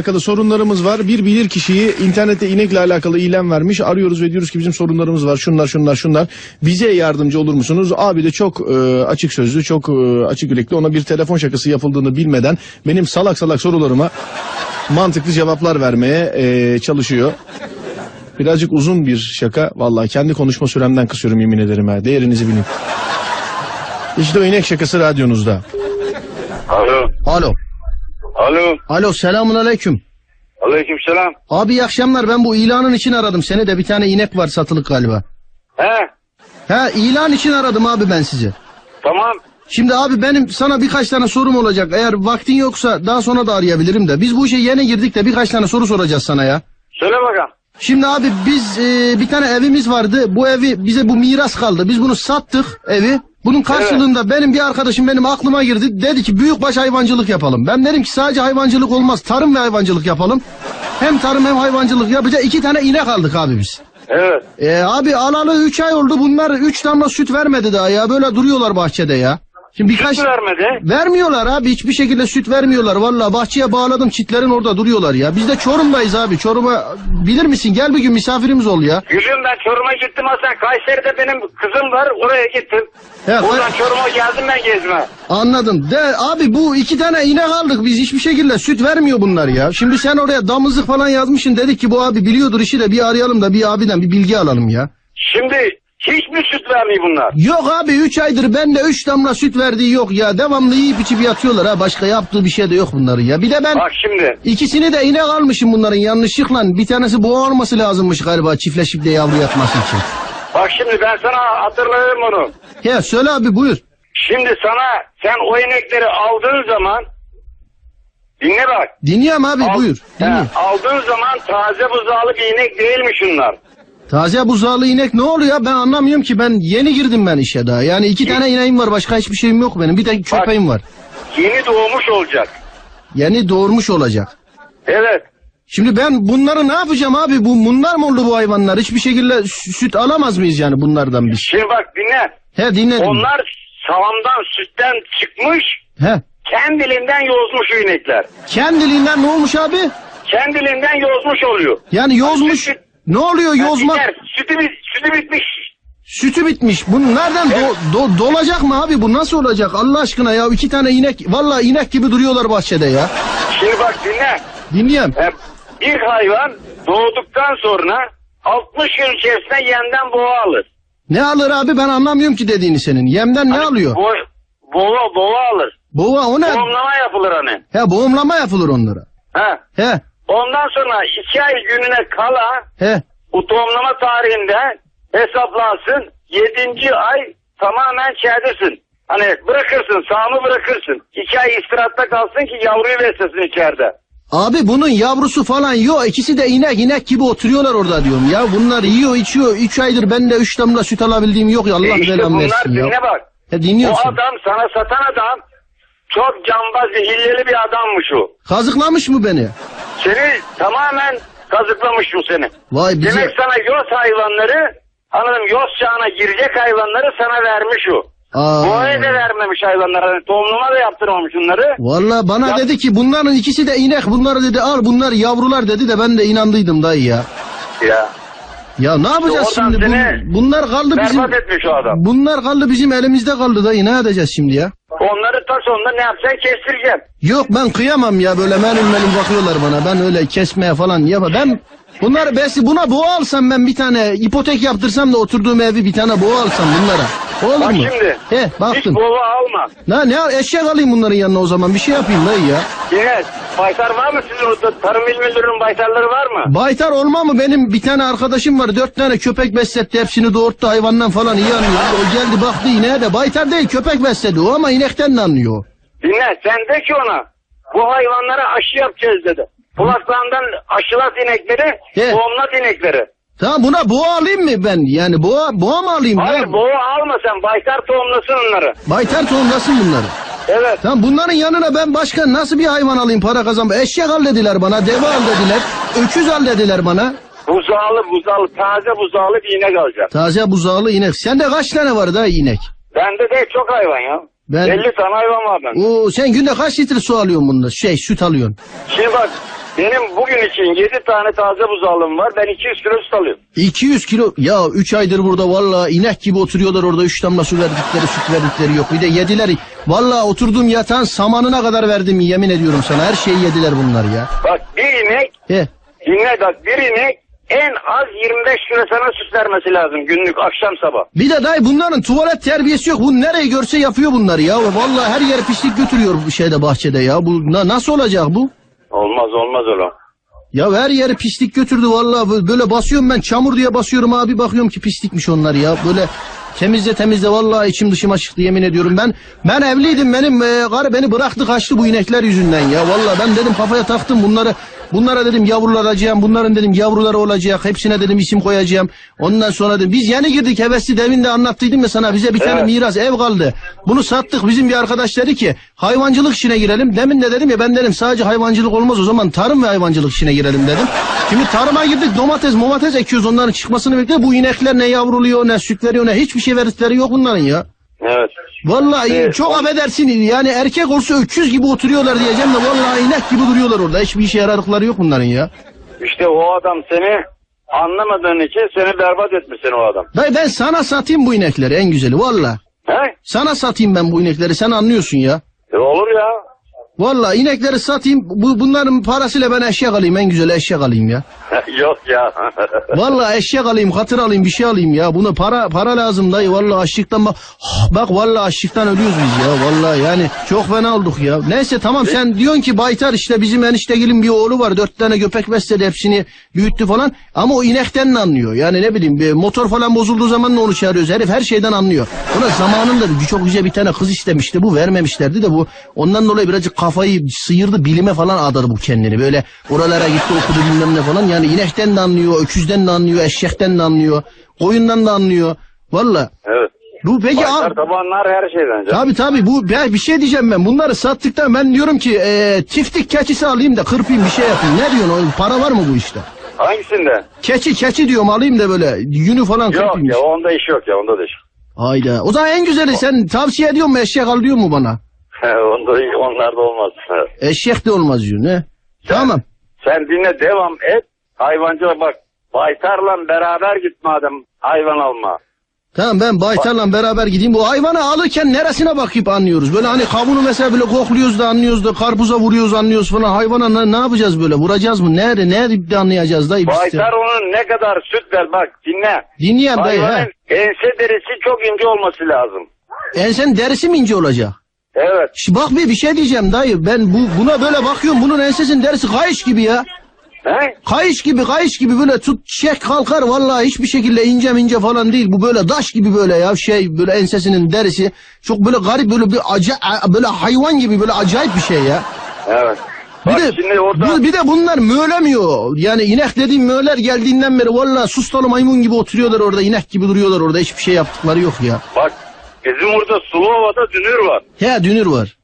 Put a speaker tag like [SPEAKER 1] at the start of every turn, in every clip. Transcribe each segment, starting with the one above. [SPEAKER 1] alakalı sorunlarımız var. Bir bilir kişiyi internette inekle alakalı ilan vermiş. Arıyoruz ve diyoruz ki bizim sorunlarımız var. Şunlar şunlar şunlar. Bize yardımcı olur musunuz? Abi de çok e, açık sözlü, çok e, açık yürekli. Ona bir telefon şakası yapıldığını bilmeden benim salak salak sorularıma mantıklı cevaplar vermeye e, çalışıyor. Birazcık uzun bir şaka. Vallahi kendi konuşma süremden kısıyorum yemin ederim ha. Değerinizi bilin. İşte o inek şakası radyonuzda.
[SPEAKER 2] Alo.
[SPEAKER 1] Alo.
[SPEAKER 2] Alo.
[SPEAKER 1] Alo selamun aleyküm.
[SPEAKER 2] Aleyküm selam.
[SPEAKER 1] Abi iyi akşamlar ben bu ilanın için aradım seni de bir tane inek var satılık galiba.
[SPEAKER 2] He.
[SPEAKER 1] He ilan için aradım abi ben sizi.
[SPEAKER 2] Tamam.
[SPEAKER 1] Şimdi abi benim sana birkaç tane sorum olacak. Eğer vaktin yoksa daha sonra da arayabilirim de. Biz bu işe yeni girdik de birkaç tane soru soracağız sana ya.
[SPEAKER 2] Söyle bakalım.
[SPEAKER 1] Şimdi abi biz e, bir tane evimiz vardı. Bu evi bize bu miras kaldı. Biz bunu sattık evi. Bunun karşılığında benim bir arkadaşım benim aklıma girdi. Dedi ki büyükbaş hayvancılık yapalım. Ben dedim ki sadece hayvancılık olmaz. Tarım ve hayvancılık yapalım. Hem tarım hem hayvancılık yapacağız. iki tane inek aldık abi biz.
[SPEAKER 2] Evet.
[SPEAKER 1] E, abi alalı 3 ay oldu. Bunlar 3 damla süt vermedi daha ya. Böyle duruyorlar bahçede ya. Şimdi birkaç...
[SPEAKER 2] Hiç vermedi.
[SPEAKER 1] Vermiyorlar abi hiçbir şekilde süt vermiyorlar. Valla bahçeye bağladım çitlerin orada duruyorlar ya. Biz de Çorum'dayız abi. Çorum'a bilir misin gel bir gün misafirimiz ol ya.
[SPEAKER 2] Gülüm ben Çorum'a gittim Hasan. Kayseri'de benim kızım var. Oraya gittim.
[SPEAKER 1] Evet,
[SPEAKER 2] Buradan
[SPEAKER 1] ben-
[SPEAKER 2] Çorum'a geldim ben gezme.
[SPEAKER 1] Anladım. De abi bu iki tane inek aldık biz hiçbir şekilde süt vermiyor bunlar ya. Şimdi sen oraya damızlık falan yazmışsın dedik ki bu abi biliyordur işi de bir arayalım da bir abiden bir bilgi alalım ya.
[SPEAKER 2] Şimdi hiç mi süt vermiyor bunlar?
[SPEAKER 1] Yok abi 3 aydır ben de 3 damla süt verdiği yok ya. Devamlı yiyip içip yatıyorlar ha. Başka yaptığı bir şey de yok bunların ya. Bir de ben
[SPEAKER 2] Bak şimdi.
[SPEAKER 1] İkisini de inek almışım bunların yanlışlıkla. Bir tanesi boğa olması lazımmış galiba çiftleşip de yavru yapması için.
[SPEAKER 2] Bak şimdi ben sana hatırlayayım bunu.
[SPEAKER 1] He söyle abi buyur.
[SPEAKER 2] Şimdi sana sen o inekleri aldığın zaman dinle bak.
[SPEAKER 1] Dinliyorum abi
[SPEAKER 2] Al-
[SPEAKER 1] buyur.
[SPEAKER 2] He,
[SPEAKER 1] Dinliyorum.
[SPEAKER 2] aldığın zaman taze buzağlı bir inek değilmiş şunlar.
[SPEAKER 1] Taze buzağlı inek ne oluyor ben anlamıyorum ki ben yeni girdim ben işe daha. Yani iki tane ineğim var başka hiçbir şeyim yok benim. Bir tek köpeğim var.
[SPEAKER 2] Yeni doğmuş olacak.
[SPEAKER 1] Yeni doğurmuş olacak.
[SPEAKER 2] Evet.
[SPEAKER 1] Şimdi ben bunları ne yapacağım abi? Bu bunlar mı oldu bu hayvanlar? Hiçbir şekilde sü- süt alamaz mıyız yani bunlardan biz?
[SPEAKER 2] Şimdi bak dinle.
[SPEAKER 1] He dinledim.
[SPEAKER 2] Onlar salamdan sütten çıkmış,
[SPEAKER 1] He.
[SPEAKER 2] kendiliğinden yozmuş o inekler.
[SPEAKER 1] Kendiliğinden ne olmuş abi?
[SPEAKER 2] Kendiliğinden yozmuş oluyor.
[SPEAKER 1] Yani yozmuş.
[SPEAKER 2] süt-
[SPEAKER 1] Ne oluyor
[SPEAKER 2] Yani
[SPEAKER 1] yozmak?
[SPEAKER 2] biter, sütü, bit- sütü bitmiş.
[SPEAKER 1] Sütü bitmiş. Bu nereden do- do- dolacak mı abi? Bu nasıl olacak? Allah aşkına ya iki tane inek. Vallahi inek gibi duruyorlar bahçede ya.
[SPEAKER 2] Şimdi bak dinle.
[SPEAKER 1] Dinleyeyim.
[SPEAKER 2] E, Bir hayvan doğduktan sonra 60 gün içerisinde yenden boğa alır.
[SPEAKER 1] Ne alır abi ben anlamıyorum ki dediğini senin. Yemden ne alıyor?
[SPEAKER 2] Bo boğa, boğa alır.
[SPEAKER 1] Boğa o ne?
[SPEAKER 2] Tohumlama yapılır hani.
[SPEAKER 1] He boğumlama yapılır onlara.
[SPEAKER 2] Ha.
[SPEAKER 1] He
[SPEAKER 2] Ondan sonra 2 ay gününe kala
[SPEAKER 1] he.
[SPEAKER 2] bu tohumlama tarihinde hesaplansın. Yedinci ay tamamen içeridesin. Hani bırakırsın, sahamı bırakırsın. İki ay istirahatta kalsın ki yavruyu beslesin içeride.
[SPEAKER 1] Abi bunun yavrusu falan yok. İkisi de inek inek gibi oturuyorlar orada diyorum. Ya bunlar yiyor içiyor. Üç aydır ben de üç damla süt alabildiğim yok ya. Allah
[SPEAKER 2] E işte
[SPEAKER 1] belamı
[SPEAKER 2] bunlar
[SPEAKER 1] versin
[SPEAKER 2] dinle
[SPEAKER 1] ya.
[SPEAKER 2] bak.
[SPEAKER 1] He
[SPEAKER 2] O
[SPEAKER 1] dinliyorsun.
[SPEAKER 2] adam sana satan adam çok cambaz bir hilleli bir adammış o.
[SPEAKER 1] Kazıklamış mı beni?
[SPEAKER 2] Seni tamamen kazıklamış bu seni.
[SPEAKER 1] Vay bize...
[SPEAKER 2] Demek sana yoz hayvanları anladım yoz çağına girecek hayvanları sana vermiş o.
[SPEAKER 1] Aa.
[SPEAKER 2] Boğaya da vermemiş hayvanlara. Hani tohumlama da yaptırmamış bunları.
[SPEAKER 1] Valla bana
[SPEAKER 2] Ya-
[SPEAKER 1] dedi ki bunların ikisi de inek bunları dedi al bunlar yavrular dedi de ben de inandıydım dayı ya.
[SPEAKER 2] Ya.
[SPEAKER 1] Ya ne yapacağız
[SPEAKER 2] oradan
[SPEAKER 1] şimdi? Bun-
[SPEAKER 2] seni
[SPEAKER 1] bunlar kaldı bizim
[SPEAKER 2] Berbat etmiş o adam.
[SPEAKER 1] bunlar kaldı bizim elimizde kaldı dayı ne edeceğiz şimdi ya?
[SPEAKER 2] Onları ta sonunda ne yapacaksın kestireceksin.
[SPEAKER 1] Yok ben kıyamam ya böyle melun melun bakıyorlar bana ben öyle kesmeye falan yapamam. Ben bunları besi buna boğa alsam ben bir tane ipotek yaptırsam da oturduğum evi bir tane boğa alsam bunlara. Olur
[SPEAKER 2] Bak
[SPEAKER 1] mu?
[SPEAKER 2] şimdi.
[SPEAKER 1] He
[SPEAKER 2] Hiç
[SPEAKER 1] Eh, baktım.
[SPEAKER 2] bova alma.
[SPEAKER 1] Ne ne eşek alayım bunların yanına o zaman bir şey yapayım dayı ya.
[SPEAKER 2] Yine baytar var mı sizin orada? Tarım İl Müdürü'nün baytarları var mı?
[SPEAKER 1] Baytar olma mı benim bir tane arkadaşım var dört tane köpek besletti hepsini doğurttu hayvandan falan iyi anlıyor. O geldi baktı ineğe de baytar değil köpek besledi o ama inekten de anlıyor.
[SPEAKER 2] Dinle sen de ki ona. Bu hayvanlara aşı yapacağız dedi. Kulaklarından aşılat inekleri,
[SPEAKER 1] He.
[SPEAKER 2] tohumlat inekleri.
[SPEAKER 1] Tamam buna boğa alayım mı ben yani boğa, boğa mı alayım?
[SPEAKER 2] Hayır
[SPEAKER 1] ben?
[SPEAKER 2] bova alma sen. Baytar tohumlasın onları.
[SPEAKER 1] Baytar tohumlasın bunları.
[SPEAKER 2] Evet.
[SPEAKER 1] Tamam bunların yanına ben başka nasıl bir hayvan alayım para kazan? Eşek al dediler bana, deve al dediler, öküz al dediler bana.
[SPEAKER 2] Buzağlı buzağlı taze buzağlı bir inek alacağım.
[SPEAKER 1] Taze buzağlı inek. Sende kaç tane var da inek?
[SPEAKER 2] Bende de çok hayvan ya.
[SPEAKER 1] Ben-
[SPEAKER 2] 50 tane hayvan var bende.
[SPEAKER 1] Oo, sen günde kaç litre su alıyorsun bunda? Şey süt alıyorsun.
[SPEAKER 2] Şimdi bak Benim bugün için 7 tane taze buzağlım var. Ben 200 kilo süt alıyorum.
[SPEAKER 1] 200 kilo ya 3 aydır burada valla inek gibi oturuyorlar orada 3 damla su verdikleri süt verdikleri yok. Bir de yediler valla oturduğum yatağın samanına kadar verdim yemin ediyorum sana her şeyi yediler bunlar ya. E,
[SPEAKER 2] Bak bir inek
[SPEAKER 1] He.
[SPEAKER 2] dinle bak bir inek en az 25 kilo sana süt vermesi lazım günlük akşam sabah.
[SPEAKER 1] Bir de dayı bunların tuvalet terbiyesi yok. Bu nereyi görse yapıyor bunları ya. Valla her yer pislik götürüyor bu şeyde bahçede ya. Bu na- nasıl olacak bu?
[SPEAKER 2] Olmaz olmaz oğlum.
[SPEAKER 1] Ya her yeri pislik götürdü vallahi böyle basıyorum ben çamur diye basıyorum abi bakıyorum ki pislikmiş onlar ya böyle temizle temizle vallahi içim dışıma çıktı yemin ediyorum ben ben evliydim benim e, karı beni bıraktı kaçtı bu inekler yüzünden ya vallahi ben dedim kafaya taktım bunları bunlara dedim yavrular alacağım bunların dedim yavruları olacak hepsine dedim isim koyacağım ondan sonra dedim biz yeni girdik hevesli devinde anlattıydım ya sana bize bir tane
[SPEAKER 2] Evet.
[SPEAKER 1] miras ev kaldı bunu sattık bizim bir arkadaş dedi ki hayvancılık işine girelim demin de dedim ya ben dedim sadece hayvancılık olmaz o zaman tarım ve hayvancılık işine girelim dedim. Şimdi tarıma girdik domates momates ekiyoruz onların çıkmasını bekliyor bu inekler ne yavruluyor ne süt veriyor ne hiçbir şey verdikleri yok bunların ya.
[SPEAKER 2] Evet.
[SPEAKER 1] Vallahi
[SPEAKER 2] Evet.
[SPEAKER 1] çok affedersin yani erkek olsa öküz gibi oturuyorlar diyeceğim de vallahi inek gibi duruyorlar orada hiçbir işe yaradıkları yok bunların ya.
[SPEAKER 2] İşte o adam seni anlamadığın için seni berbat etmişsin o adam.
[SPEAKER 1] Dayı ben sana satayım bu inekleri en güzeli valla.
[SPEAKER 2] He?
[SPEAKER 1] Sana satayım ben bu inekleri sen anlıyorsun ya.
[SPEAKER 2] E olur ya.
[SPEAKER 1] Vallahi inekleri satayım. Bu, bunların parasıyla ben eşek alayım. En güzel eşek alayım ya.
[SPEAKER 2] Yok ya.
[SPEAKER 1] Vallahi eşek alayım, katır alayım, bir şey alayım ya. Buna para para lazım dayı. Vallahi açlıktan bak. Bak vallahi açlıktan ölüyoruz biz ya. Vallahi yani çok fena olduk ya. Neyse tamam sen diyorsun ki Baytar işte bizim eniştegilin bir oğlu var. Dört tane köpek besledi hepsini büyüttü falan. Ama o inekten de anlıyor. Yani ne bileyim bir motor falan bozulduğu zaman da onu çağırıyoruz. Herif her şeyden anlıyor. Buna zamanında bir- çok güzel bir tane kız istemişti. Bu vermemişlerdi de bu. Ondan dolayı birazcık kafayı sıyırdı. Bilime falan adadı bu kendini. Böyle oralara gitti okudu bilmem ne falan. Yani inekten de anlıyor, öküzden de anlıyor, eşekten de anlıyor. Koyundan da anlıyor. Valla.
[SPEAKER 2] evet.
[SPEAKER 1] Bu peki abi.
[SPEAKER 2] Baytar tabanlar her şeyden canım.
[SPEAKER 1] Tabi tabi bu ben bir şey diyeceğim ben. Bunları sattıktan ben diyorum ki eee tiftik keçisi alayım da kırpayım bir şey yapayım. Ne diyorsun? oğlum? Para var mı bu işte?
[SPEAKER 2] Hangisinde?
[SPEAKER 1] Keçi keçi diyorum alayım da böyle yünü falan
[SPEAKER 2] Yok
[SPEAKER 1] kırpayım.
[SPEAKER 2] ya onda iş yok ya onda da iş. yok.
[SPEAKER 1] Hayda. O zaman en güzeli sen tavsiye ediyor mu eşek al diyor mu bana?
[SPEAKER 2] onda onlarda olmaz.
[SPEAKER 1] Eşek de olmaz diyor ne? Tamam.
[SPEAKER 2] Sen dinle devam et. Hayvancılığa bak. Baytar'la beraber git madem hayvan alma.
[SPEAKER 1] Tamam ben Baytar'la beraber gideyim. Bu hayvanı alırken neresine bakıp anlıyoruz? Böyle hani kabuğunu mesela böyle kokluyoruz da anlıyoruz da karpuza vuruyoruz anlıyoruz falan. Hayvana ne, ne yapacağız böyle? Vuracağız mı? Nerede? Nerede de anlayacağız dayı biz?
[SPEAKER 2] Baytar onun ne kadar süt ver bak dinle.
[SPEAKER 1] Dinleyen dayı he.
[SPEAKER 2] Hayvanın ense derisi çok ince olması lazım.
[SPEAKER 1] Ensenin derisi mi ince olacak?
[SPEAKER 2] Evet.
[SPEAKER 1] Şş, bak bir bir şey diyeceğim dayı. Ben bu buna böyle bakıyorum. Bunun ensesinin derisi kayış gibi ya.
[SPEAKER 2] He?
[SPEAKER 1] Kayış gibi kayış gibi böyle tut çek kalkar vallahi hiçbir şekilde ince ince falan değil. Bu böyle daş gibi böyle ya şey böyle ensesinin derisi. Çok böyle garip böyle bir aca a- böyle hayvan gibi böyle acayip bir şey ya.
[SPEAKER 2] Evet.
[SPEAKER 1] Bir
[SPEAKER 2] Bak
[SPEAKER 1] de,
[SPEAKER 2] şimdi orada
[SPEAKER 1] bu- bir de bunlar möğlemiyor. Yani inek dediğim möğler geldiğinden beri vallahi sustalı maymun gibi oturuyorlar orada inek gibi duruyorlar orada hiçbir şey yaptıkları yok ya.
[SPEAKER 2] bak bizim orada Sulova'da dünür var.
[SPEAKER 1] He dünür var.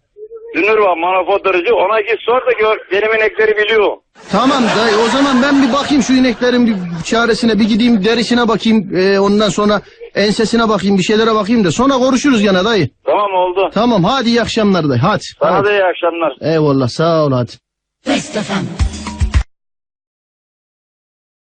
[SPEAKER 2] Dünür var manafotlarıcı ona git sor da gör benim inekleri biliyor.
[SPEAKER 1] Tamam dayı o zaman ben bir bakayım şu ineklerin bir çaresine bir gideyim derisine bakayım Ee, ondan sonra ensesine bakayım bir şeylere bakayım da sonra konuşuruz gene dayı.
[SPEAKER 2] Tamam oldu.
[SPEAKER 1] Tamam hadi iyi akşamlar dayı hadi.
[SPEAKER 2] Sana
[SPEAKER 1] hadi.
[SPEAKER 2] da iyi akşamlar.
[SPEAKER 1] Eyvallah sağ ol hadi.
[SPEAKER 3] Best FM.